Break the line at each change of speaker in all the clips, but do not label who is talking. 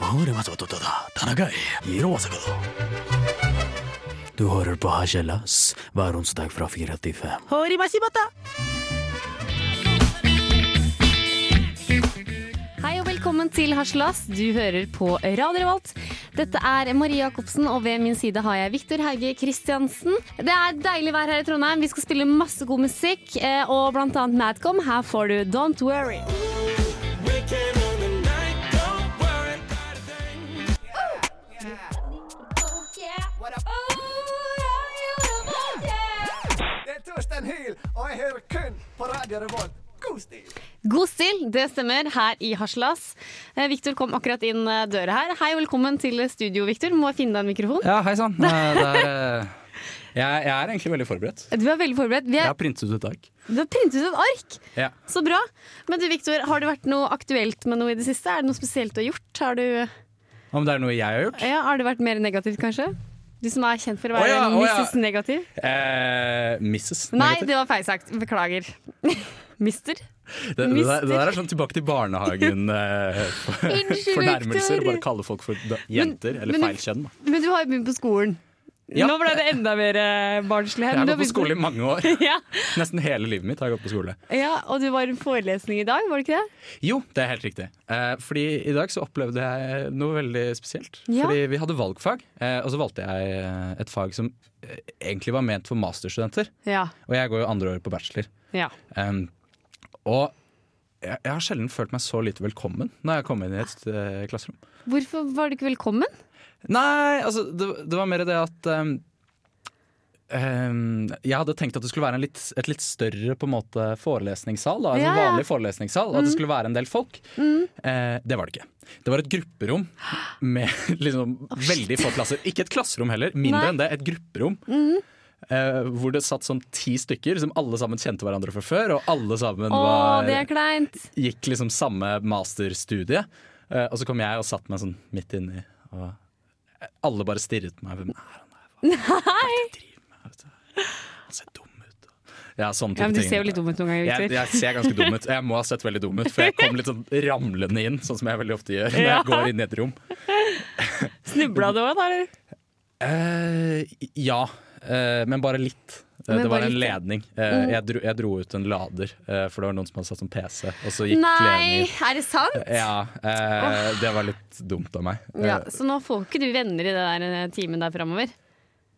Hurematotoda, Tanagai, Hirowasakado. Du hører på Hajelas hver onsdag fra fire til fem.
Hei og velkommen til Harselas. Du hører på Radio Revolt. Dette er Marie Jacobsen, og ved min side har jeg Viktor Hauge Kristiansen. Det er deilig vær her i Trondheim. Vi skal spille masse god musikk, eh, og blant annet Madcom. Her får du Don't Worry.
Det er Torstein Hyl, og jeg hører kun på Radio Revolt. God stil!
God stil, det stemmer, her i Harselas. Eh, Viktor kom akkurat inn eh, døra her. Hei og velkommen til studio, Viktor. Må jeg finne deg en mikrofon?
Ja, hei sann. Eh, det er, eh, Jeg, jeg er egentlig veldig forberedt.
Du er veldig forberedt. Vi
Jeg
er,
har printet ut et ark.
Du har printet ut et ark!
Ja.
Så bra. Men du, Viktor, har det vært noe aktuelt med noe i det siste? Er det noe spesielt du har gjort? Har, du,
Om det er noe jeg har gjort?
ja, har det vært mer negativt, kanskje? Du som er kjent for å
Å
være
ja, å ja.
Mrs. Negativ?
Eh, Mrs.
Nei,
Negativ.
det var feil sagt. Beklager. Mister.
det, det, der, det der er sånn tilbake til barnehagen. Eh,
Unnskyld,
fornærmelser.
Victor.
Bare kalle folk for da, jenter. eller
men-
feil kjønn. da.
Men du har jo begynt på skolen.
Ja.
Nå ble det enda mer eh, barnslig her.
Jeg
men
har
du
gått på skole
begynt
i mange år.
Ja.
Nesten hele livet mitt har jeg gått på skole.
ja, Og du var i en forelesning i dag, var det ikke det?
Jo, det er helt riktig. Eh, fordi i dag så opplevde jeg noe veldig spesielt.
Ja.
Fordi vi hadde valgfag, eh, og så valgte jeg eh, et fag som eh, egentlig var ment for masterstudenter.
Ja.
Og jeg går jo andre året på bachelor.
ja.
Um, og jeg, jeg har sjelden følt meg så lite velkommen når jeg kom inn i et eh, klasserom.
Hvorfor var du ikke velkommen?
Nei, altså det, det var mer det at um, um, Jeg hadde tenkt at det skulle være en litt, et litt større på en måte forelesningssal. Da, altså
Ja, Mm.
En
ja.
vanlig forelesningssal. At det skulle være en del folk. Eh, det var det ikke. Det var et grupperom med liksom, veldig få plasser. Ikke et klasserom heller, mindre
Nei. Mm.
enn det. Et grupperom. eh, hvor det satt sånn ti stykker som alle sammen kjente hverandre fra før. Og alle sammen
Å,
var
det er kleint.
gikk liksom samme masterstudie. eh, og så kom jeg og satte meg sånn midt inni, og alle bare stirret på meg. Hvem er han der? Hva er det han driver med? Vet du? Han ser dum ut. Ja, sånn type
Ja, men Du
ting.
ser jo litt dum ut noen ganger,
Jeg,
Viktor.
jeg ser ganske dum ut. Jeg må ha sett veldig dum ut, for jeg kom litt sånn ramlende inn, sånn som jeg veldig ofte gjør når
Ja.
jeg går inn i et rom.
Snubla du òg, da? eller?
Eh, ja, eh, men bare litt. Eh,
Men
det var
bare
en
litt, ja. Mm.
ledning. Eh, jeg, dro, jeg dro ut en lader, eh, for det var noen som hadde satt som PC, og så gikk ledningen
Nei, er det sant?
Ja, eh, det var litt dumt av meg. Eh,
Ja, så nå får ikke du venner i det der eh, timen der framover.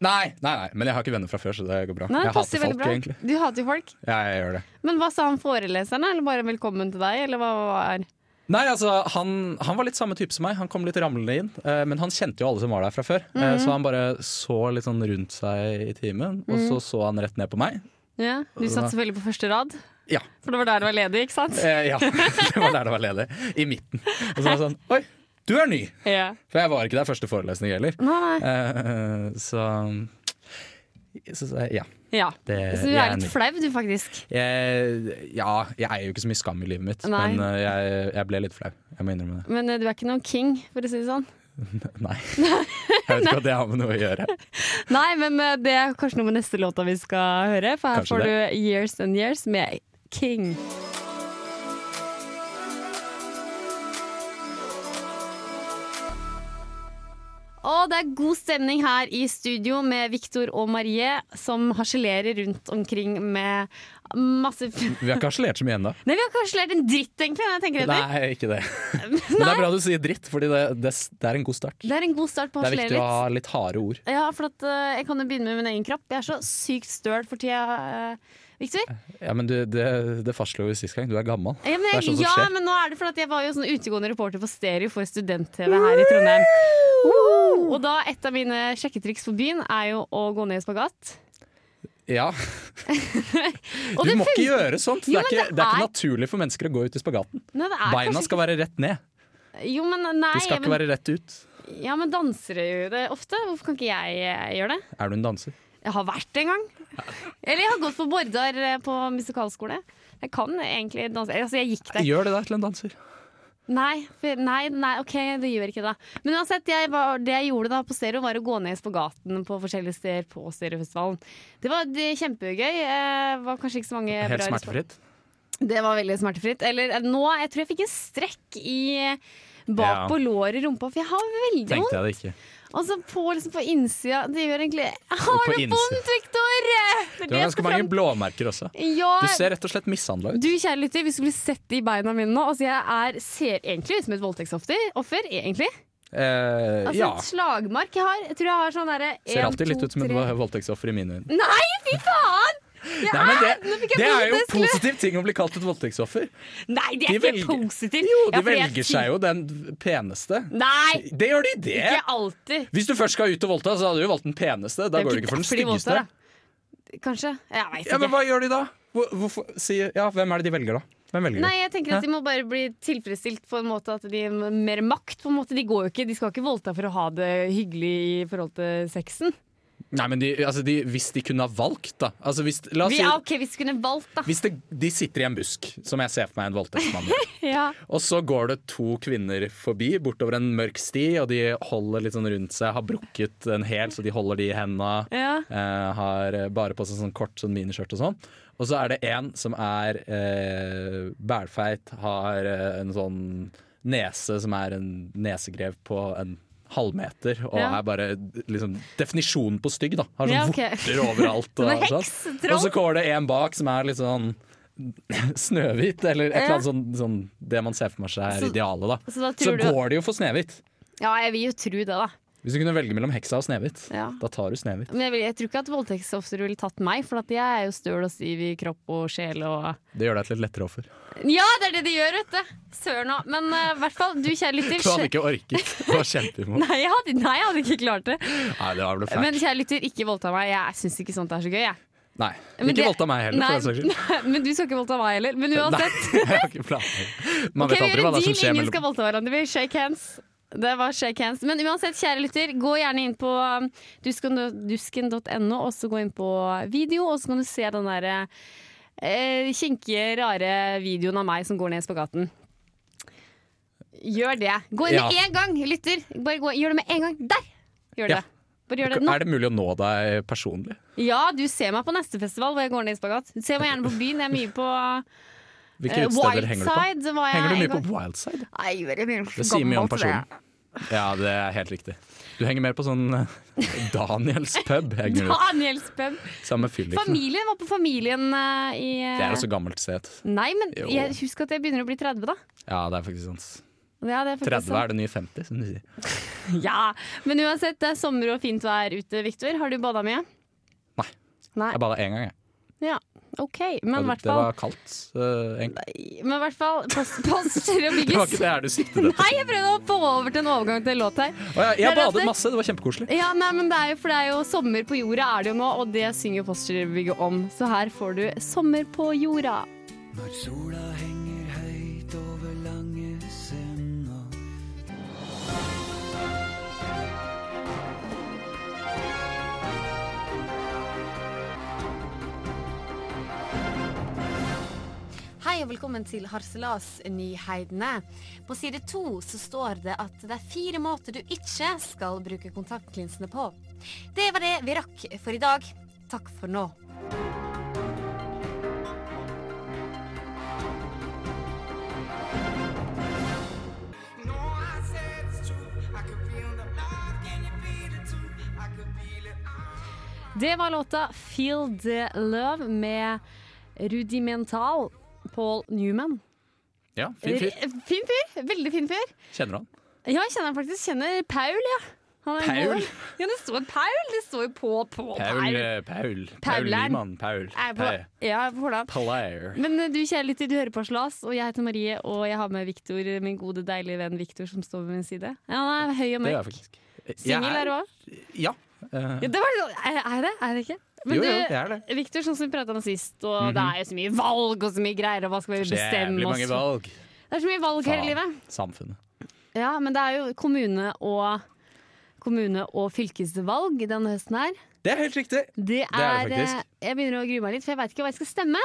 nei, nei, nei, men jeg har ikke venner fra før, så det går bra.
Nei, det
jeg
passer
hater
veldig
folk,
bra.
egentlig.
Du hater jo folk.
Ja, jeg gjør det.
Men hva sa han foreleseren, eller bare velkommen til deg, eller hva var
Nei, altså, han, han var litt samme type som meg. Han kom litt ramlende inn. eh, men han kjente jo alle som var der fra før, eh,
Mhm.
så han bare så litt sånn rundt seg i timen. Og
Mhm.
så så han rett ned på meg.
ja, Du satt selvfølgelig på første rad,
Ja.
for det var der du var ledig, ikke sant?
Eh, ja. det var der det var ledig. I midten. Og så var det sånn Oi, du er ny!
Ja.
For jeg var ikke der første forelesning heller.
Nei, nei.
Eh, så Så sa jeg ja.
Ja.
Eh, Det-
så du
jeg
er
er
litt
enig.
flau, du, faktisk.
Jeg, ja, jeg eier jo ikke så mye skam i livet mitt,
Nei.
men eh, jeg, jeg ble litt flau. Jeg må innrømme det.
Men eh, du er ikke noen king, for å si det sånn.
Nei. Jeg vet ikke hva det har med noe å gjøre.
Nei, men eh, det er kanskje noe med neste låta vi skal høre, for her
Kanskje
får du Years and Years med King. Og det er god stemning her i studio med Victor og Marie, som harselerer rundt omkring med masse f-
Vi har ikke harselert så mye ennå.
Nei, vi har ikke harselert en dritt, egentlig. når jeg tenker etter.
Nei, ikke det. Men det er bra du sier dritt, for det, det, det er en god start.
Det er en god start på å
Det er
harselere
viktig å
litt.
ha litt harde ord.
Ja, for at, eh, jeg kan jo begynne med min egen kropp. Jeg er så sykt støl for tida, uh, Victor.
Ja, men du, det, det fastslo vi sist gang. Du er gammel.
Ja, men,
Det er
jeg,
sånt som
ja,
skjer.
men nå er det fordi at jeg var jo sånn utegående reporter for stereo for student-TV her i Trondheim. Woo! Og da et av mine sjekketriks på byen er jo å gå ned i spagat.
Ja.
Og
Du
det
må ikke
funker-
gjøre sånt. Det
Jo,
er
men
ikke,
det
det er ikke
er-
naturlig for mennesker å gå ut i spagaten.
Nei, det er
Beina
kanskje
skal være rett ned.
ikke- Jo, men nei.
De skal
men,
ikke være rett ut.
Ja, men dansere gjør det ofte. Hvorfor kan ikke jeg eh, gjøre det?
Er du en danser?
Jeg har vært det en gang. Eller jeg har gått på Bordar eh, på musikalskole. Jeg kan egentlig danse. Altså, jeg gikk der.
Gjør det deg til en danser.
Nei, for, nei, nei, ok, det gjør ikke det. Men uansett, jeg var, det jeg gjorde da på stereo, var å gå ned i spagaten på forskjellige steder på stereofestivalen. Det var det, kjempegøy. Eh, var kanskje ikke så mange
Helt
bra
smertefritt.
Det var veldig smertefritt. Eller eh, nå, jeg tror jeg fikk en strekk i eh, bak
Ja.
på låret i rumpa, for jeg har veldig vondt.
Tenkte jeg det ikke.
Og så på, liksom, på innsida Det gjør egentlig Jeg har
på
det
innsida.
vondt, Victor! Det er
Du
det
har
jeg skal
ganske mange
fram-
blåmerker også.
ja.
Du ser rett og slett mishandla ut.
Du, kjære lytter, hvis du skulle sett de beina mine nå altså Jeg er, ser egentlig ut som et voldtektsoffer, offer, egentlig.
Eh,
Altså
ja.
et slagmark jeg har. Jeg tror jeg har sånn derre
Ser alltid litt ut som et voldtektsoffer i mine øyne.
Nei, fy faen! Det
Nei, men
er,
det,
nå fikk jeg
det er jo
vite, skulle-
positiv ting å bli kalt et voldtektsoffer.
Nei,
de
det er ikke
velger-
positivt.
Jo,
Ja,
de
for jeg
velger
ty-
seg jo den peneste.
Nei,
Det gjør de, det!
ikke alltid.
Hvis du først skal ut og voldta, så hadde du jo valgt den peneste. Da
Det er
går du
ikke
ikke for den
derfor de
styggeste.
voldtar, da. Kanskje. Jeg veit
Ja,
ikke.
men hva gjør de da? Hvor, hvorfor, si, ja, hvem er det de velger, da? Hvem velger
Nei,
de?
jeg tenker at De må bare bli tilfredsstilt på en måte at de har mer makt. på en måte. De, går jo ikke, de skal ikke voldta for å ha det hyggelig i forhold til sexen.
Nei, men de, altså, de, Hvis de kunne ha valgt, da. Altså, hvis, la oss
Vi,
si,
ja, ok, Hvis vi kunne valgt, da.
hvis det, de sitter i en busk, som jeg ser for meg en voldtektsmann gjør,
Ja.
og så går det to kvinner forbi bortover en mørk sti, og de holder litt sånn rundt seg, har brukket en hæl, så de holder de i henda.
Ja.
eh, har bare på seg sånn kort sånn miniskjørt og sånn. Og så er det en som er eh, bælfeit, har eh, en sånn nese som er en nesegrev på en halvmeter, og
Ja.
er bare liksom definisjonen på stygg, da. Har sånn
Ja, ok.
vorter overalt. Og,
Sånn heks,
sånn.
troll.
og så går det en bak som er litt sånn Snøhvit, eller et eller annet sånn, sånn det man ser for meg seg er
Så-
idealet, da.
så da
så
tror du-
går det jo for Snehvit.
ja, jeg vil jo tro det, da.
Hvis du kunne velge mellom heksa og Snehvit,
Ja.
da tar du Snehvit.
Men jeg, vil, jeg tror ikke at voldtektsofre ville tatt meg, for at jeg er jo støl og stiv i kropp og sjel og
Det gjør deg til et lettere offer.
Ja, det er det de gjør, vet du! Søren òg. Men eh, i hvert fall, du kjære lytter
Du hadde ikke orket å kjempe imot.
Nei, jeg hadde, nei, jeg hadde ikke klart det.
Nei, det var vel
Men
fælt.
kjære lytter, ikke voldta meg. Jeg syns ikke sånt er så gøy. Jeg.
Nei,
Men
ikke
det-
voldta meg heller,
nei,
for den saks skyld.
nei, Men du skal ikke voldta meg heller. Men uansett.
Nei, jeg har ikke planer. Man
Ok,
vet
vi
aldri hva det er
gjør en deal,
som skjer
ingen skal
mellom
voldta hverandre. Vi shake hands. Det var shake hands. Men uansett, kjære lytter, gå gjerne inn på um, dusken- dusken.no, og så gå inn på video, og så kan du se den derre eh, kinkige, rare videoen av meg som går ned i spagaten. Gjør det. Gå inn
Ja.
med én gang, lytter. Bare gå, gjør det med en gang. Der! Gjør
Ja.
det. Bare gjør det nå.
Er det mulig å nå deg personlig?
Ja, du ser meg på neste festival hvor jeg går ned i spagat. Du ser meg gjerne på byen. Jeg er mye på
Hvilke
eh,
utesteder henger du på?
Wildside. Var jeg
Henger du
en
mye på
gang.
Wildside?
Nei, jeg gjør det, jeg blir
Det sier mye om
gammel til det.
personen. Ja, det er helt riktig. Du henger mer på sånn eh, Daniels pub. Henger du.
Daniels pub.
Samme fylliksen.
Familien var på Familien eh, i
Liksom.
eh,
Det er også gammelt sted.
Nei, men
Jo.
jeg husk at jeg begynner å bli 30, da.
Ja, det er faktisk sant.
Ja, det er
30
faktisk sant.
er det nye 50, som de sier.
Ja. Men uansett, det er sommer og fint vær ute, Victor. Har du bada mye?
Nei.
Nei.
Jeg bada én gang, jeg.
Ja, OK. Men i
Og Det
hvert fall,
var kaldt. eh, egentlig.
men i hvert fall post, poster og
Det var ikke det
bygges.
her du siktet etter.
Nei, jeg prøvde å få over til en overgang til en låt her.
Å, ja,
Det er
Jeg
derfor-
badet masse, det var kjempekoselig.
Ja, nei, men det er jo, For det er jo sommer på jorda er det jo nå, og det synger Posterbygget om. Så her får du 'Sommer på jorda'.
Når sola henger høyt over lange senda
Hei og velkommen til Harselas-nyheidene. På side to så står det at det er fire måter du ikke skal bruke kontaktlinsene på. Det var det vi rakk for i dag. Takk for nå.
No, I said it's true. I could feel the love. Can you feel it too? I could feel it all.
Det var låta 'Feel the Love' med Rudimental Paul Newman. Eh,
Ja, fin fyr.
Fin fyr. Veldig fin fyr.
Kjenner du han?
Ja, jeg kjenner han faktisk. Kjenner Paul, ja. Han er
Paul?
god. Ja, det står Paul. Det står jo på, på
Paul,
Paul.
eh, Paul. Paul
Paulern.
Nyman. Paul.
Jeg er på,
Paul.
ja, jeg er på Holland.
Player.
Men eh, du kjære lytter, du hører på Slas, og jeg heter Marie, og jeg har med Victor, min gode, deilige venn Victor, som står ved min side. Ja, han er høy
Det er
og
jeg
mørk.
faktisk. Jeg
Singel er du òg?
Ja. eh,
Ja, det var det- er er det? Er det ikke? Men
Jo,
du,
jo, jeg er det. Mhm.
Victor, sånn som vi prata om sist, og det er jo så mye valg og så mye greier, og hva skal vi bestemme
Jævlig
oss
mange
for?
valg.
Det er så mye valg her i livet.
Samfunnet.
Ja, men det er jo kommune og Kommune- og fylkesvalg denne høsten her.
Det er helt riktig. Det er
Det er,
det
eh,
faktisk.
Jeg begynner å grue meg litt, for jeg veit ikke hva jeg skal stemme.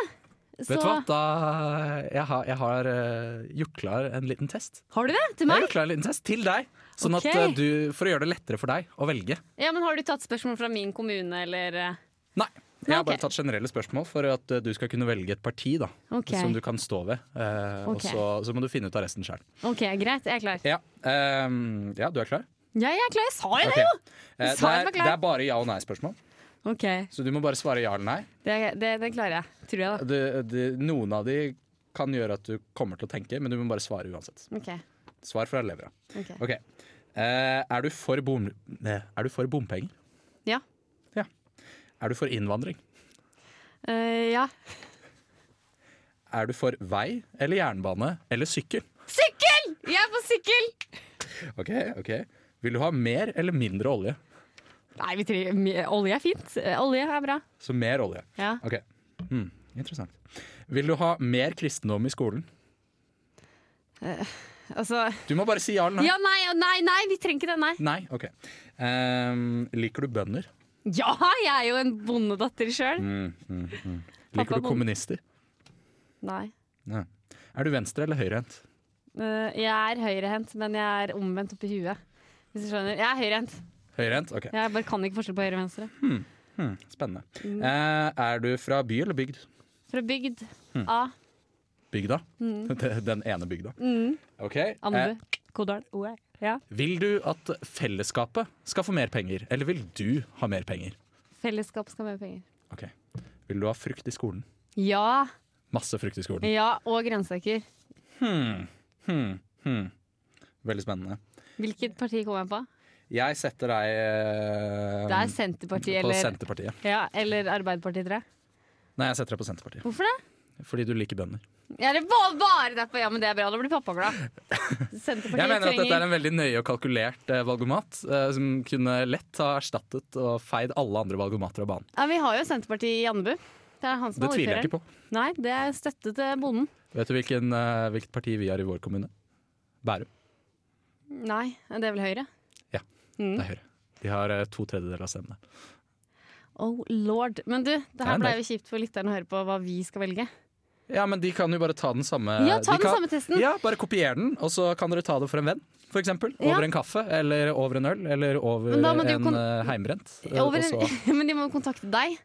Vet du hva? Da, jeg har, jeg har eh, gjort klar en liten test.
Har du det? Til
Jeg har
meg?
gjort klar en liten test Til deg. Sånn
Ok.
at eh, du, For å gjøre det lettere for deg å velge.
Ja, men Har du tatt spørsmål fra min kommune, eller eh?
Nei. Jeg har
Ok.
bare tatt generelle spørsmål for at eh, du skal kunne velge et parti da,
Ok.
som du kan stå ved. eh,
Ok.
Og så, så må du finne ut av resten sjøl.
Ok, greit. Jeg er klar.
Ja, ehm, ja, du er klar?
Ja, jeg er klar. Jeg sa jo
Ok.
det, jo!
Eh,
Jeg
det,
sa jeg
er,
var
det
klar.
er bare ja- og nei-spørsmål,
Ok,
så du må bare svare ja eller nei.
det, det, det klarer jeg. Tror jeg, da.
Det- det- noen av de kan gjøre at du kommer til å tenke, men du må bare svare uansett.
Ok,
Svar fra levra.
ok.
Ok. Eh, er, du for bom, eh, er du for bompenger?
Ja.
Er du for innvandring?
Eh, ja.
Er du for vei eller jernbane eller sykkel?
Sykkel! Jeg er på sykkel!
Ok, ok. Vil du ha mer eller mindre olje?
Nei, vi trenger mye- Olje er fint. Eh, Olje er bra.
Så mer olje.
Ja.
Ok. Hmm, interessant. Vil du ha mer kristendom i skolen?
Altså
Du må bare si ja eller nei.
Ja, nei, ja, nei, nei, vi trenger ikke det, nei.
Nei, ok. Ehm, liker du bønder?
Ja, jeg er jo en bondedatter
Mm.
sjøl.
Liker
Pappa
du
bonde.
kommunister?
Nei.
Nei. Er du venstre eller høyrehendt?
Eh, jeg er høyrehendt, men jeg er omvendt oppi huet. Hvis du skjønner. Jeg er høyrehendt.
Høyrehendt? Ok,
Jeg bare kan ikke forskjell på høyre og venstre.
spennende.
Mm.
Eh, er du fra by eller bygd?
Fra bygd A.
Bygda?
Mm.
Den ene bygda. Ok. Eh,
Andebu. Kodal. Oe. Ja.
vil du at fellesskapet skal få mer penger, eller vil du ha mer penger?
Fellesskap skal ha mer penger.
Ok. Vil du ha frukt i skolen?
Ja.
Masse frukt i skolen. Hmm,
Ja, og grønnsaker.
Veldig spennende.
Hvilket parti kom jeg på?
Jeg setter deg eh,
Det er Senterpartiet
på
eller,
Senterpartiet.
ja, eller Arbeiderpartiet, tror jeg.
Nei, jeg setter deg på Senterpartiet.
Hvorfor det?
Fordi du liker bønder.
Ja, det var bare derfor. Ja, men det er bra. Da blir pappa glad. Senterpartiet
Jeg mener at dette er
trenger
en veldig nøye og kalkulert eh, valgomat, eh, som kunne lett ha erstattet og feid alle andre valgomater av banen.
ja, Vi har jo Senterpartiet i Andebu. Det er han som
Det
er
tviler jeg
ordføreren.
ikke på.
Nei, det er støtte til bonden.
Vet du hvilken, eh, hvilket parti vi har i vår kommune? Bærum.
Nei, det er vel Høyre.
Det er Høyre. De har eh, to tredjedeler av stemmene.
Oh lord. Men du, det her
en
blei
del.
jo kjipt for lytterne å høre på hva vi skal velge.
Ja, men de kan jo bare ta den samme
Ja, ta
de
den
kan,
samme testen.
Ja, Bare kopier den, og så kan dere ta det for en venn. For eksempel,
Ja.
Over en kaffe, eller over en øl, eller over
Men da må
en
de jo kon-
eh, heimbrent. Eh,
Over,
og så-
men de må jo kontakte deg.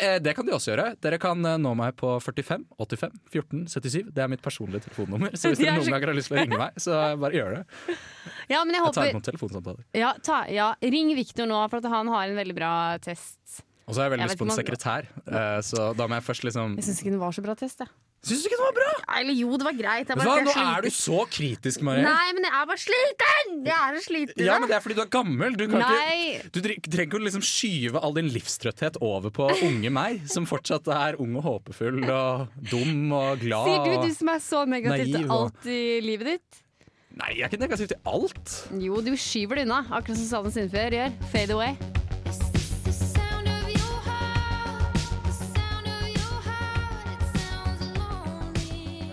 Eh, det kan de også gjøre. Dere kan eh, nå meg på 45 85 14 77. Det er mitt personlige telefonnummer. Så hvis
De
dere
er
noen
så-
ganger har lyst til å ringe meg, så bare gjør det.
Ja, men jeg
Jeg tar
håper
imot telefonsamtaler.
ja, ta, ja, Ring Victor nå, for at han har en veldig bra test.
Og så har jeg veldig
Jeg
lyst
vet
på en
ikke
sekretær, eh, så da må jeg først liksom
Jeg syns ikke den var så bra test, jeg.
Syns du ikke det var bra?
Nei, Eller jo, det var greit. Jeg
Vet
bare,
du hva,
jeg
Nå
sliten.
er du så kritisk, Marie.
Nei, men jeg er bare sliten! Jeg er så sliten.
Ja, men Det er fordi du er gammel. Du, kan
Nei.
ikke, du tre- trenger ikke å liksom skyve all din livstrøtthet over på unge meg, som fortsatt er ung og håpefull og dum og glad.
Sier du,
og-
du som er så
Ah. Naiv
negativ til
og-
alt i livet ditt?
Nei, jeg er ikke negativ til alt.
Jo, du skyver det unna, akkurat som Sanne Sundfør gjør. Fade away.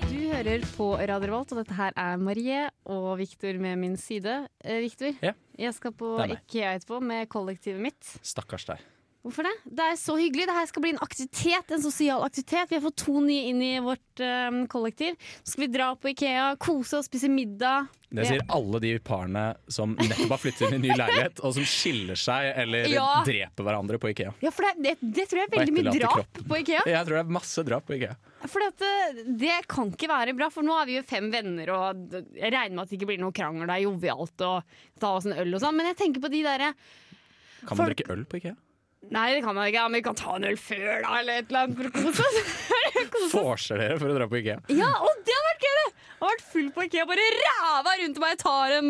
Du hører på Radio Revolt, og dette her er Marie og Victor med min side. Eh, Victor,
Ja.
jeg skal på
Det er meg.
IKEA etterpå med kollektivet mitt.
Stakkars deg.
Hvorfor det? Det er så hyggelig. Det her skal bli en aktivitet, en sosial aktivitet. Vi har fått to nye inn i vårt eh, kollektiv. Så skal vi dra på IKEA, kose oss, spise middag.
Det sier alle de parene som nettopp har flyttet inn i ny leilighet, og som skiller seg eller
Ja.
dreper hverandre på Ikea.
Ja, for det, det, det tror jeg er
Og
veldig mye
etterlater
drap
kroppen.
på IKEA.
Jeg tror det er masse drap på Ikea.
For eh, det kan ikke være bra, for nå er vi jo fem venner, og d- jeg regner med at det ikke blir noe krangel, det er jovialt å ta oss en øl og sånn, men jeg tenker på de derre
Kan man
For-
drikke øl på Ikea?
Nei, det kan man ikke, ja, men vi kan ta en øl før, da, eller et eller annet. for å kose oss. Kose oss.
Forser dere for å dra på Ikea?
Ja, og det hadde vært gøy! det! Jeg har vært full på IKEA, bare ræva rundt meg, tar en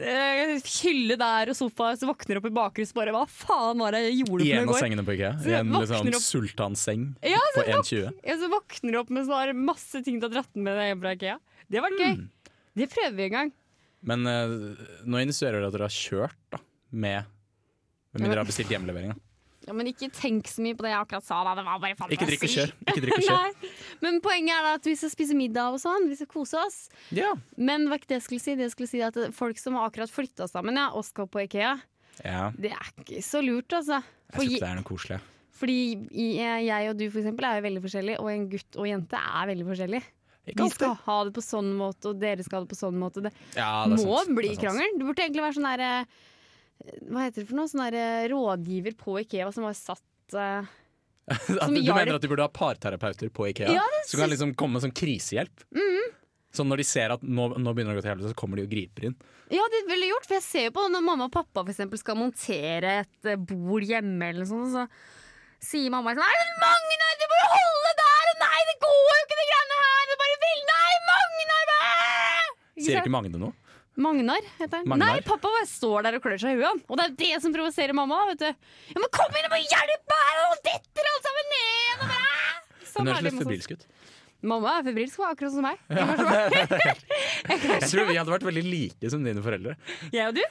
eh, hylle der og sofa, så våkner opp i bakhuset bare Hva faen var det jeg
I en
gjorde for
av
noe i går?
sengene på Ikea.
Så
I
jeg
en liksom,
våkner opp-
sultanseng
Ja, så
på 1,20.
Ja, så våkner du opp med sånn masse ting du har dratt med deg hjem fra IKEA. Det hadde vært gøy.
Mm.
Det prøver vi en gang.
Men eh, nå insinuerer dere at dere har kjørt da, med Med mindre dere har bestilt hjemmelevering. da.
Ja, men ikke tenk så mye på det jeg akkurat sa. Da. Det var bare fantasi.
Ikke drikk og kjør. Ikke drikk og kjør.
Nei. Men poenget er da at vi skal spise middag og sånn. Vi skal kose oss.
Ja.
Men hva ikke det jeg skulle si, det jeg skulle si er at folk som har akkurat flytta sammen ja, og skal på Ikea,
ja.
det er ikke så lurt, altså.
Jeg tror
Fordi,
ikke det er noe koselig.
fordi i- jeg og du for eksempel er jo veldig forskjellige, og en gutt og jente er veldig forskjellige.
Ikke
Vi
alltid.
skal ha det på sånn måte, og dere skal ha det på sånn måte. Det
Ja, det er
må
sant.
bli
Det er sant.
krangel. Det burde egentlig være sånn derre eh, Hva heter det for noe? Sånn derre rådgiver på Ikea som var satt eh,
At
Som
du
hjalp.
mener at de burde ha parterapeuter på Ikea?
Ja, det Mhm.
som kan liksom komme som krisehjelp? Så når de ser at nå, nå begynner det å gå til helvete, så kommer de og griper inn.
Ja, det ville gjort, for jeg ser jo på når mamma og pappa for eksempel, skal montere et eh, bord hjemme, eller sånn, så sier mamma sånn Nei, men Magnar, du må jo holde der! Og nei, det går jo ikke, de greiene her! Det bare vil Nei, Magnar! bæ!» Ikke
Sier
sant? Sånn
ikke Magne noe?
Magnar heter han.
Magnar.
Nei, pappa bare står der og klør seg i huet. han. Og det er jo det som provoserer mamma. vet du. Ja, Men kom inn og bare hjelp her! Og detter alt sammen ned! Og bare, «Æ!» sånn
Hun
er
høres
det
litt
med oss.
febrilsk ut.
Mamma er febrilsk, hun er akkurat som meg.
Jeg tror vi hadde vært veldig like som dine foreldre.
Jeg og du?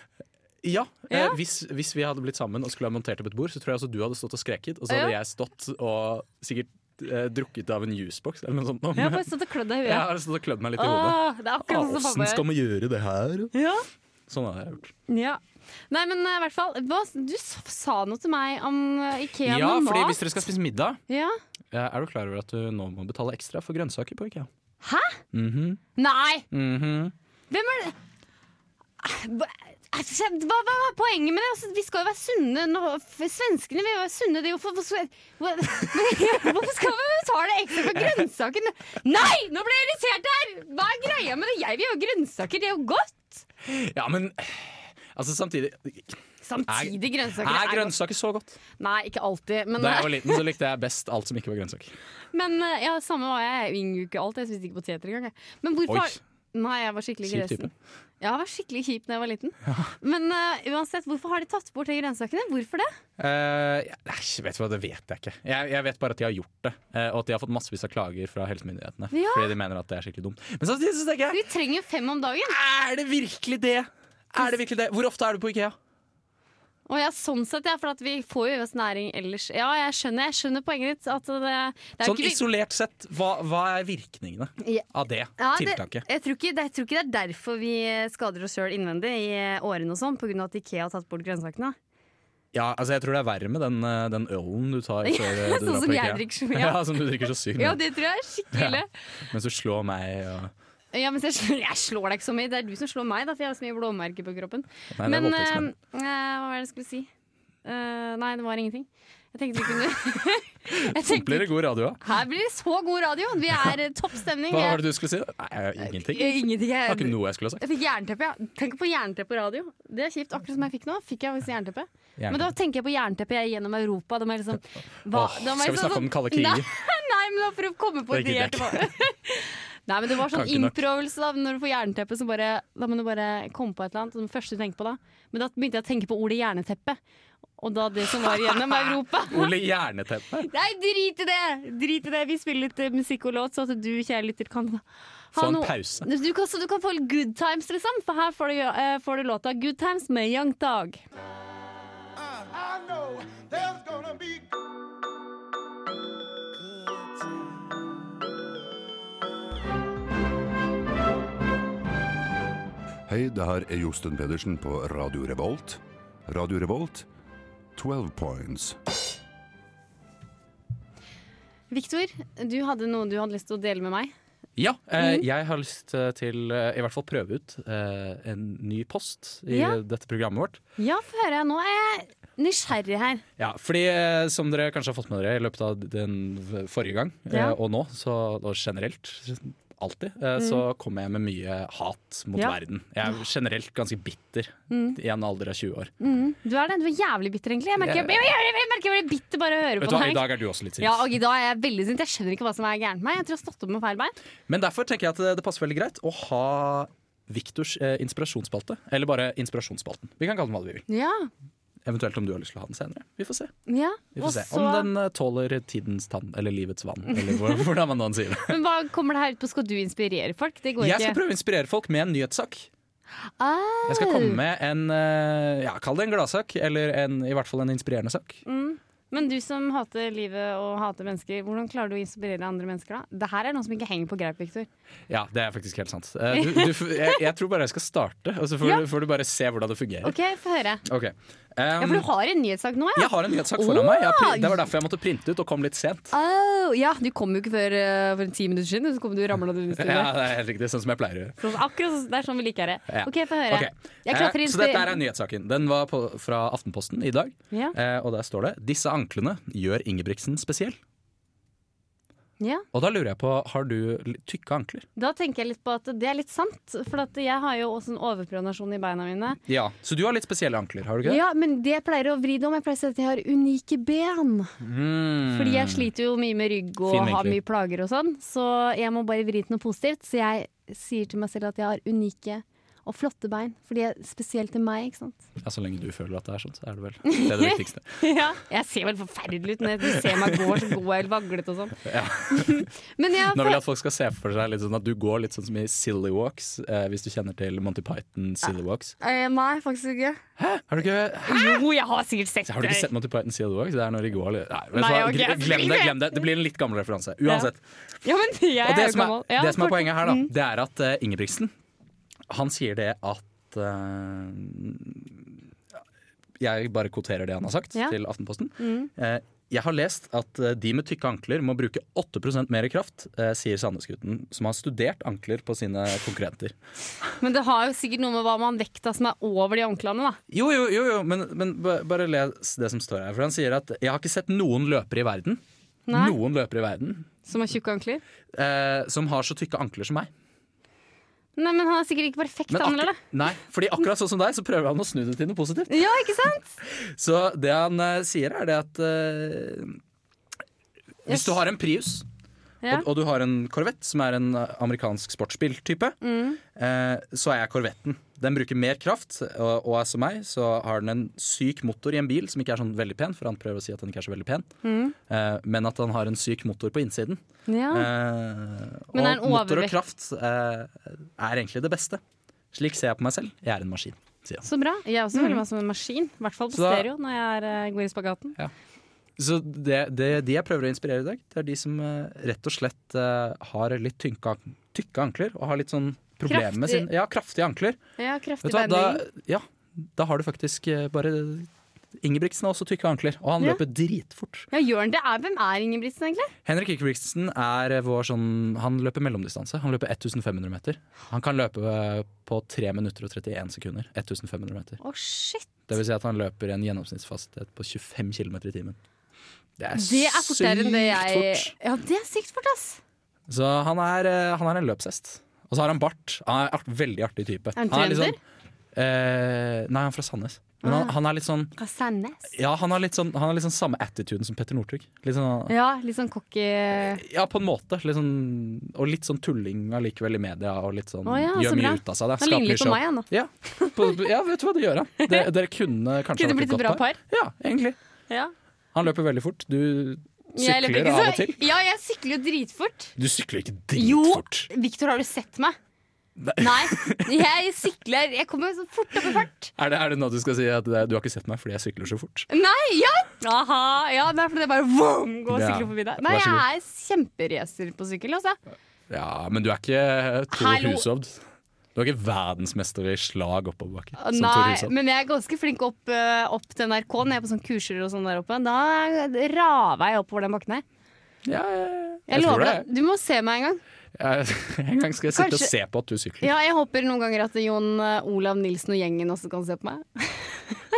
Ja,
Ja.
Eh, hvis, hvis vi hadde blitt sammen og skulle ha montert opp et bord, så tror jeg også du hadde stått og skreket, og så hadde
Ja.
jeg stått og sikkert eh, drukket av en juicebox eller noe sånt.
Jeg har bare stått og klødd deg i
Jeg
huet.
har stått og klødd meg litt i hodet.
Åh, det er akkurat sånn som
Åssen
pappa
skal man gjøre det her?
gjør. Ja.
Sånn hadde jeg gjort.
Ja. Nei, men eh, i hvert fall hva, Du s- sa noe til meg om eh, Ikea
Ja,
med
fordi
mat.
hvis dere skal spise middag,
Ja.
eh, er du klar over at du nå må betale ekstra for grønnsaker på IKEA?
Nei!
Mhm.
Hvem er det hva, hva, hva er poenget med det? Altså, vi skal jo være sunne nå. F- Svenskene vil jo være sunne. De, hvorfor, hvorfor, hva- hvorfor skal vi betale ekstra for grønnsakene? Nei! Nå ble jeg irritert her! Hva er greia med det? Jeg vil jo ha grønnsaker. Det er jo godt.
Ja, men altså samtidig
Samtidig, grønnsaker
Er
er godt.
grønnsaker så godt?
Nei, ikke alltid. Men,
Da jeg var liten, så likte jeg best alt som ikke var grønnsaker.
Men eh, ja, samme var jeg. Jeg unngikk jo ikke alt. Jeg spiste ikke poteter engang. jeg. Men
Oi.
hvorfor Nei, jeg var skikkelig
Kjip
gresen.
type.
Ja, jeg var skikkelig kjip da jeg var liten. Men eh, uansett, hvorfor har de tatt bort de grønnsakene? Hvorfor det?
Eh, jeg- nei, vet du hva, det vet jeg ikke. Jeg, jeg vet bare at de har gjort det. eh, og at de har fått massevis av klager fra helsemyndighetene.
Ja.
Fordi de mener at det er skikkelig dumt. Men samtidig så tenker jeg,
Vi trenger jo fem om dagen!
er det virkelig det? Er det virkelig det? Hvor ofte er du på Ikea?
Og ja, sånn sett, ja, for at vi får jo i oss næring ellers. Ja, jeg skjønner, jeg skjønner poenget ditt. At det, det er
Sånn
ikke vi-
isolert sett, hva, hva er virkningene
Ja.
av det
Ja, det,
tiltaket?
jeg, tror ikke, det, jeg tror ikke det er derfor vi eh, skader oss sjøl innvendig i årene og sånn, pga. at Ikea har tatt bort grønnsakene.
Ja, altså jeg tror det er verre med den, eh, den ølen du tar før eh, du
sånn
drar
som
på
jeg
Ikea.
drikker så mye av.
Ja, som du drikker så sykt.
Ja,
mye.
det tror jeg er skikkelig ille.
Mens du slår meg og
Ja, men jeg, slår, jeg slår deg ikke så mye. Det er du som slår meg, da, for jeg har så mye blåmerker på kroppen.
Nei, det er
men
voldtektsmenn.
eh, eh, hva var det jeg skulle si? Eh, nei, det var ingenting. Jeg tenkte vi kunne jeg
Sånn blir
tenkte,
det god radio av.
Her blir det så god radio! Vi er eh, topp stemning.
Hva var
Jeg-
det du skulle si? da? Nei, jeg- ingenting.
Eh,
Det
Ingenting.
var ikke
Jeg,
noe jeg skulle ha sagt.
jeg fikk jernteppe. Ja. Tenk på jernteppe på radio. Det er kjipt. Akkurat som jeg fikk nå, fikk jeg faktisk jernteppe. Men da tenker jeg på jernteppe jeg gjennom Europa. Da må jeg liksom, hva,
Åh,
da må
skal vi
jeg liksom-
snakke om den kalde krigen?
Nei, nei, men da for å komme på
Det
det,
gidder jeg
etterpå. Nei, men det var
Kan
sånn
ikke nok.
innprøvelse da Når du får jernteppe, så bare Da må du bare komme på et eller annet. Det første du tenker på da Men da begynte jeg å tenke på ordet jerneteppe. Og da det som var gjennom Europa.
Ole Jerneteppe.
Nei, drit i det! Drit i det. Vi spiller litt eh, musikk og låt, så at du, kjære lytter, kan ha
Få en
noe-
pause.
Du kan, så du kan få litt good times, liksom. For her får du, eh, får du låta 'Good Times' med Young Dag.
I know there's gonna be
Hei, det her er Josten Pedersen på Radio Revolt. Radio Revolt, 12 points.
Victor, du hadde noe du hadde lyst til å dele med meg.
Ja, eh,
Mm.
jeg har lyst eh, til eh, i hvert fall prøve ut eh, en ny post i
Ja.
dette programmet vårt.
Ja, få høre. Nå er jeg nysgjerrig her.
Ja, fordi eh, som dere kanskje har fått med dere i løpet av den v- forrige gang eh,
Ja. Mm.
og nå, så, og generelt alltid, eh, så kommer jeg med mye hat mot
Ja. Mm.
verden. Jeg er generelt ganske bitter i en alder av 20 år.
Du er det. Du er jævlig bitter, egentlig. Jeg merker jeg,
Jeg-
jeg, jeg, jeg, merker jeg blir bitter bare av å høre
Vet
på
du hva, I
deg.
dag er du også litt sint.
Ja, og i dag er jeg veldig sint. Jeg skjønner ikke hva som er gærent med meg. Jeg tror jeg har stått opp med feil bein.
Men derfor tenker jeg at eh, det- det passer veldig greit å ha Viktors eh, inspirasjonsspalte. Eller bare Inspirasjonsspalten. Vi kan kalle den hva vi vil.
Ja,
Eventuelt om du har lyst til å ha den senere. Vi får se.
ja.
Vi får
Og
se.
så,
Om den eh, tåler tidens tann, eller livets vann, eller hvor- hvordan man nå sier det.
Men hva kommer det her ut på? Skal du inspirere folk? Det går
Jeg skal
ikke.
prøve å inspirere folk med en nyhetssak.
Ah,
Jeg skal komme med en eh, ja, kall det en gladsak, eller en, i hvert fall en inspirerende sak.
Mm. Men du som hater livet og hater mennesker, hvordan klarer du å inspirere andre mennesker da? Det her er noe som ikke henger på greip, Victor.
Ja, det er faktisk helt sant. Eh, Du, du, f- jeg, jeg tror bare jeg skal starte, og så får,
Ja.
du- får du bare se hvordan det fungerer.
OK, få høre.
Ok.
Ja,
Um,
For du har en nyhetssak nå, ja?
Jeg har en nyhetssak foran meg. Jeg har
Åh! Ah,
pri- det var derfor jeg måtte printe ut og kom litt sent.
Au, Oh, ja, du kom jo ikke før eh, for en ti minutter siden, og så kom du ramla inn i studio.
Ja, det er helt riktig, sånn som jeg pleier å gjøre.
Sånn, akkurat sånn- Det er sånn vi liker det.
Ja.
OK, få høre.
Ok.
Jeg klatrer
Eh,
inn
så dette her er nyhetssaken. Den var på, fra Aftenposten i dag.
Ja.
Eh, og der står det 'Disse anklene gjør Ingebrigtsen spesiell'.
Ja,
Og da lurer jeg på, har du l- tykke ankler?
Da tenker jeg litt på at det er litt sant, for at jeg har jo også en overpronasjon i beina mine.
Ja, Så du har litt spesielle ankler, har du ikke det?
Ja, men det jeg pleier å vri det om, jeg pleier å si at jeg har unike ben. Fordi jeg sliter jo mye med rygg og
Mm. Fin
har
vinkling.
mye plager og sånn, så jeg må bare vri til noe positivt. Så jeg sier til meg selv at jeg har unike og flotte bein, for de er spesielt til meg, ikke sant.
Ja, Så lenge du føler at det er sånn, så er det vel det, er det viktigste.
Ja, jeg ser vel forferdelig ut når du ser meg går, så går jeg helt vaglet og sånn. men jeg,
Nå vil jeg at folk skal se for seg litt sånn at du går litt sånn som i Silly Walks, eh, hvis du kjenner til Monty Python Silly Walks.
Eh, Nei, faktisk ikke.
Har du ikke
Jo, jeg har sikkert sett
Har du ikke sett Monty Python Sea of the Dogs? Det er når de går litt- Nei, vet du
Nei,
hva?
ok,
Gre- glem, det, glem det! Det blir en litt gammel referanse. Uansett.
Ja, men jeg
Og det
er jo
som er,
gammel. Ja, Mm.
det som er
fortell.
poenget her, da, det er at eh, Ingebrigtsen Han sier det at eh, Jeg bare kvoterer det han har sagt
Ja. Mm.
til Aftenposten. Eh, jeg har lest at eh, de med tykke ankler må bruke 8 mer kraft, eh, sier Sandnesgutten, som har studert ankler på sine konkurrenter.
Men det har jo sikkert noe med hva man vekta som er over de anklene, da.
Jo, jo, jo, jo men, men ba- bare les det som står her. For han sier at 'jeg har ikke sett noen løpere i verden'.
Nei.
Noen løpere i verden
Som har tjukke ankler.
eh, som har så tykke ankler som meg.
Nei, men han er sikkert ikke perfekt
Men
anmelder, da.
akkur- nei, fordi akkurat sånn som deg, så prøver han å snu det til noe positivt.
Ja, ikke sant?
Så det han eh, sier, er det at eh, Hvis
Yes.
du har en Prius,
Ja.
og, og du har en Corvette, som er en eh, amerikansk sportsbil-type,
Mm.
eh, så er jeg Corvetten. Den bruker mer kraft, og, og er som meg, så har den en syk motor i en bil som ikke er sånn veldig pen, for han prøver å si at den ikke er så veldig pen,
Mm.
eh, men at han har en syk motor på innsiden.
Ja.
Eh,
Ah. Men er
og
den
motor og
overvekt-
kraft eh, er egentlig det beste. Slik ser jeg på meg selv. Jeg er en maskin, sier han.
Så bra. Jeg er også føler meg som en maskin. I hvert fall
Mm.
på
Så da-
stereo når jeg er, eh, går i spagaten.
Så det, det, de jeg prøver å inspirere i dag, det er de som eh, rett og slett eh, har litt tynke, an- tykke ankler. Og har litt sånn problemer med sin
Kraftig.
Ja, kraftige ankler.
Ja,
Vet
kraftig
du hva, da,
bending.
ja, da har du faktisk eh, bare Ingebrigtsen har også tykke ankler, og han
Ja.
løper dritfort.
Ja, gjør han det? Er, hvem er Ingebrigtsen, egentlig?
Henrik Ingebrigtsen er vår sånn Han løper mellomdistanse. Han løper 1500 meter. Han kan løpe eh, på 3 minutter og 31 sekunder. 1500 meter.
Å, shit.
Det vil si at han løper en gjennomsnittsfastighet på 25 km i timen. Det er,
Det er fortere enn det jeg
fort.
Ja, det er sykt fort, ass.
Så han er, eh, han er en løpshest. Og så har han bart. Han er art, veldig artig type.
han
er litt
trønder?
sånn- eh, nei, han er fra Sandnes. Men
Ah.
han, han er litt sånn
Fra Sandnes.
Ja, han har litt sånn, han har litt sånn samme attituden som Petter Northug. Litt sånn,
Ja, litt sånn cocky
ja, på en måte. Litt sånn, og litt sånn tulling allikevel i media. Og litt sånn,
Å ja, så
gjør mye
bra.
ut av seg. Det er
Han ligner
skaper
litt på
show.
meg, han da.
Ja. På, ja, vet du hva det gjør, da? Dere, dere kunne kanskje
Kunne
vært
blitt et bra par.
Ja, egentlig.
Ja.
Han løper veldig fort. Du
Jeg løper
sykler av
ikke så-
og til.
Ja, jeg sykler jo dritfort.
Du sykler ikke
Jo,
dritfort.
Victor, har du sett meg? Nei, jeg sykler Jeg kommer så fort opp i fart.
Er det, er det noe du skal si at det, er- du har ikke sett meg fordi jeg sykler så fort?
Nei, ja! Aha, ja, det er fordi det bare vroom, går og
Ja,
sykler forbi deg. Nei,
vær så
jeg
god.
er kjemperacer på sykkel, altså.
Ja, men du er ikke Tor
Hallo.
Hushovd. Du er ikke verdensmester i slag oppoverbakke. som Tor
Nei,
Hushovd.
men jeg er ganske flink opp, eh, opp til NRK når jeg er på sånne kurser og sånn der oppe. Da raver jeg oppover den bakken her.
Ja, jeg,
Jeg,
tror
lover
det.
deg. Du må se meg en gang.
Jeg, en gang skal jeg sitte
Kanskje-
og se på at du sykler.
Ja, jeg håper noen ganger at Jon eh, Olav Nilsen og gjengen også kan se på meg.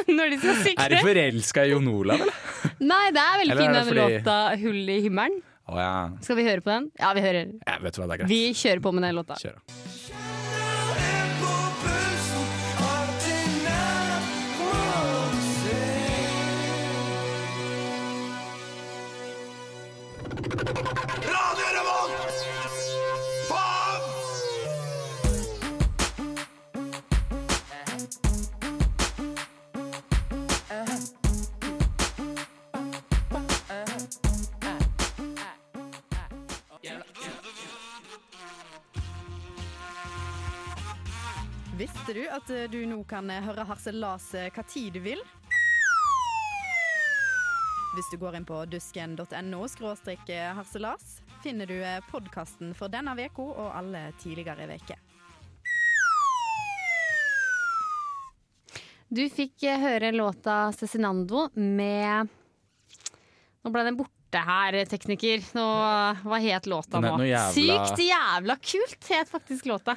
når de skal
Er du
sykle.
forelska i Jon Olav, eller?
Nei, det er veldig
Eller er
fin
det
den
fordi-
låta 'Hull i himmelen'.
Å ja.
Skal vi høre på den? Ja, vi hører.
Jeg vet hva, det er greit.
Vi kjører på med den låta.
Kjør, da.
Visste du at eh, du nå kan eh, høre harselas eh, hva tid du vil? Hvis du går inn på dusken.no skråstrek harselas, finner du eh, podkasten for denne veka og alle tidligere veker.
Du fikk eh, høre låta Cezinando med Nå ble den borte her, tekniker. Nå, hva het låta
Den
nå?
het noe jævla-
Sykt jævla kult het faktisk låta.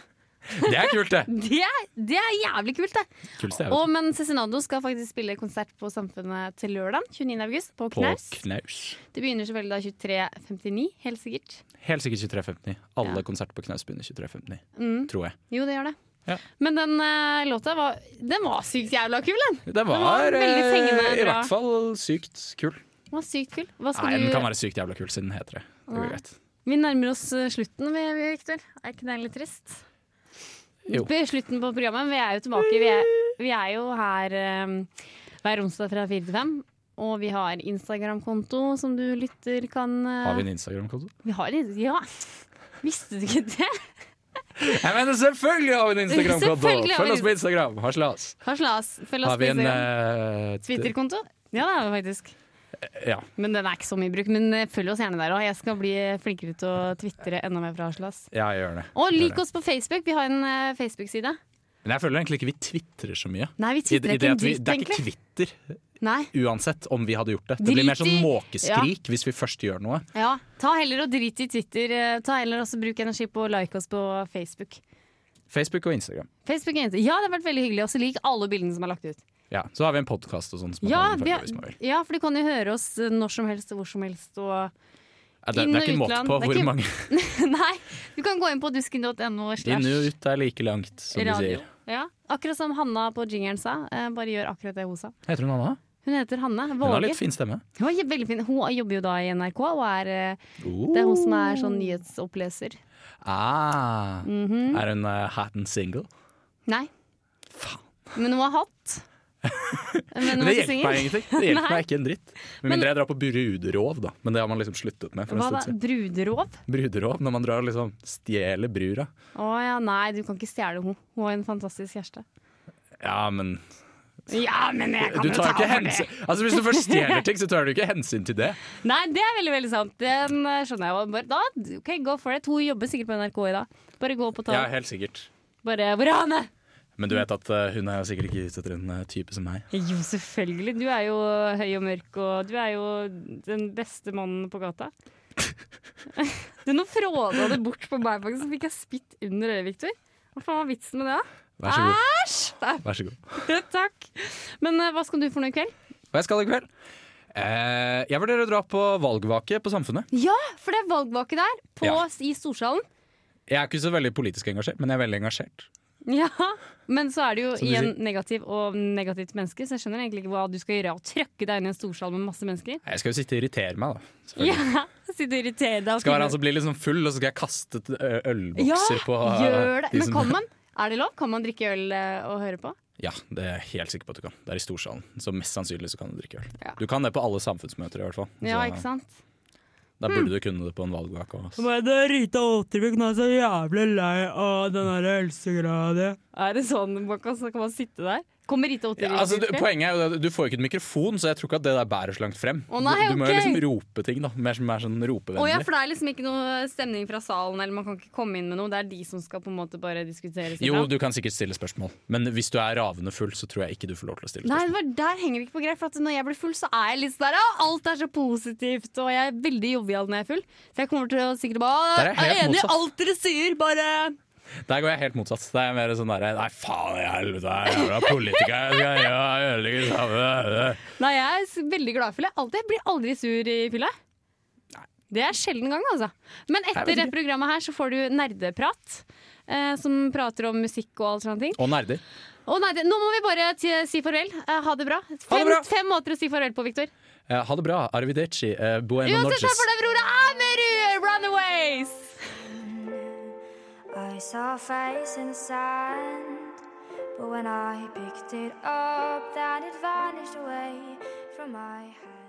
Det er kult, det!
Det, er- det er jævlig kult, det.
Kuleste jeg vet.
Og, men Cezinando skal faktisk spille konsert på Samfunnet til lørdag, 29. august, på
På
Knaus.
knaus.
Det begynner selvfølgelig da 23.59, helt sikkert.
Helt sikkert 23.59. Alle
Ja.
konserter på knaus begynner 23.59,
Mm.
tror jeg.
Jo, det gjør det.
Ja.
Men den eh, låta var, den var sykt jævla kul, den.
Det var,
var veldig
eh,
fengende
i
bra.
hvert fall sykt kul.
Den var sykt kul. Hva skal
Nei, den
du
kan være sykt jævla kul siden den heter det. det er jo
Nei.
greit.
Vi nærmer oss eh, slutten, vi, vi, Victor. Er ikke det litt trist?
Jo.
På slutten på programmet. Vi er jo tilbake. Vi er, vi er jo her eh, hver onsdag fra fire til fem. Og vi har Instagram-konto som du lytter kan eh,
Har vi en Instagram-konto?
vi har en? Ja! Visste du ikke det?
Jeg mener, selvfølgelig har vi en Instagram-konto!
Selvfølgelig har vi
Følg
en-
oss på Instagram! Harselas.
Harselas, følg oss
Har vi
på
en
Instagram.
eh, t-
Twitter-konto? Ja, det har vi faktisk.
Ja.
Men den er ikke så mye i bruk. Men eh, følg oss gjerne der òg. Jeg skal bli eh, flinkere til å tvitre enda mer fra Harselas.
ja, jeg gjør det.
Og
Jeg gjør
lik
det.
oss på Facebook. Vi har en eh, Facebook-side.
Men jeg føler egentlig ikke vi tvitrer så mye.
Nei, vi
I, i
tvitrer
det,
ikke en
at vi,
dritt,
det er ikke
egentlig.
twitter
Nei.
uansett om vi hadde gjort det. Det
Drit
blir mer sånn
i-
måkeskrik hvis vi først gjør noe.
Ja, ta heller og drit i Twitter. eh, Ta heller også Bruk energi på å like oss på Facebook.
Facebook og Instagram.
Facebook er eneste- Ja, det har vært veldig hyggelig. Også lik alle bildene som er lagt ut.
Ja, Så har vi en podkast og sånn. som man
Ja,
kan
vi
følge
har,
hvis man vil.
ja, for du kan jo høre oss eh, når som helst og hvor som helst. Og
Ja, det,
inn
det
og
er ikke måte
utland.
på
Det er
hvor
ikke-
mange
nei, du kan gå inn på dusken.no.
Inn og
slash
ut er like langt, som de
radio.
sier.
Ja, akkurat som Hanna på jingeren sa. eh, Bare gjør akkurat det hun sa.
Heter hun Anna?
Hun heter Hanne
Hun har litt
Våge.
fin stemme.
Hun, er veldig fin. hun jobber jo da i NRK og er, eh,
Oh.
det er hun som er sånn nyhetsoppleser.
Ah. Er hun uh, Hatton single?
Nei. Men hun har hatt.
Men
hun er
det
ikke
hjelper meg
singel.
ingenting. Det hjelper
Nei.
meg ikke en dritt. Med mindre jeg drar på bruderov, da. Men det har man liksom sluttet med. for en
Hva
stund
da?
siden.
Bruderov?
Bruderov, når man drar og liksom stjeler brura.
Å ja, nei, du kan ikke stjele henne. Hun har en fantastisk kjæreste.
Ja, men
Ja, men jeg
du tar ikke hensyn Altså Hvis du først stjeler ting, så tar du ikke hensyn til det.
Nei, det er veldig veldig sant. Den eh, skjønner jeg jo. Bare, da, ok, go for it. Hun jobber sikkert på NRK i dag. Bare gå opp og ta
Ja, helt sikkert.
Bare Hvor er Hanne?
Men du vet at eh, hun er jo sikkert ikke ute etter en eh, type som meg.
Jo, selvfølgelig. Du er jo høy og mørk, og du er jo den beste mannen på gata. du, nå fråda du bort på meg, faktisk, så fikk jeg spytt under øyet, Victor. Hva faen var vitsen med det? da?
Vær så god.
Æsj! Nei,
Vær så god.
Takk. Men eh, hva skal du for noe i kveld?
Hva jeg skal i kveld? Eh, jeg vurderer å dra på valgvake på Samfunnet.
Ja, for det er valgvake der på,
Ja.
i Storsalen.
Jeg er ikke så veldig politisk engasjert, men jeg er veldig engasjert.
Ja, Men så er det jo
Som de
igjen negativ og negativt menneske, så jeg skjønner egentlig ikke hva du skal gjøre. Å trøkke deg inn i en storsal med masse mennesker.
Jeg skal jo sitte og irritere meg, da. selvfølgelig.
Ja, Sitte og irritere deg. og
Skal være han
finne-
som blir liksom full, og så skal jeg kaste t- ø-
ja,
ølbokser på ø,
gjør det.
de
Men
som-
kan man? Er det lov? Kan man drikke øl eh, og høre på?
Ja, det er jeg helt sikker på at du kan. Det er i Storsalen, så mest sannsynlig så kan du drikke øl.
Ja.
Du kan det på alle samfunnsmøter i hvert fall.
Ja,
Så
ikke sant? Hm.
Da burde du kunne det på en valgvake også.
Er det sånn, Bakka, så kan man sitte der? Kommer Rita Otter
Ja, altså, du, poenget er jo at du får jo ikke en mikrofon, så jeg tror ikke at det der bærer så langt frem.
Å, nei,
du, du må jo
ok.
liksom rope ting, da. Mer, som- mer sånn ropevennlig.
Å ja, for det er liksom ikke noe stemning fra salen, eller man kan ikke komme inn med noe. Det er de som skal på en måte bare diskutere. seg
Jo,
fram.
du kan sikkert stille spørsmål, men hvis du er ravende full, så tror jeg ikke du får lov til å stille
Nei,
spørsmål.
det var, der henger vi ikke på greit. For at når jeg blir full, så er jeg litt sånn der «Å, Alt er så positivt, og jeg er veldig jovial når jeg er full. Så jeg kommer til å sikkert bare «Å,
Der er jeg
Jeg er
helt
enig i
motsatt.
alt dere sier, bare
Der går jeg helt motsatt. Det er mer sånn derre Nei, faen i helvete, jeg er jævla politiker. Jeg skal gjøre- jeg ødelegger det samme.
Nei, jeg er s- veldig gladfull. Jeg alltid- Jeg blir aldri sur i fylla. Det er sjelden gang, altså. Men etter det programmet her så får du nerdeprat. Eh, som prater om musikk og alt sånne ting.
Og nerder.
Å nei, det, nå må vi bare ti- si farvel. Eh, ha det bra. Fem,
bra.
fem måter å si farvel på, Victor.
Eh, ha det bra. Arvideci. Eh, Bueno
Uansett, takk
Norges.
for det, bror. Ameru! Runaways!
I saw a face in the sand, but when I picked it up, then it vanished away from my hand.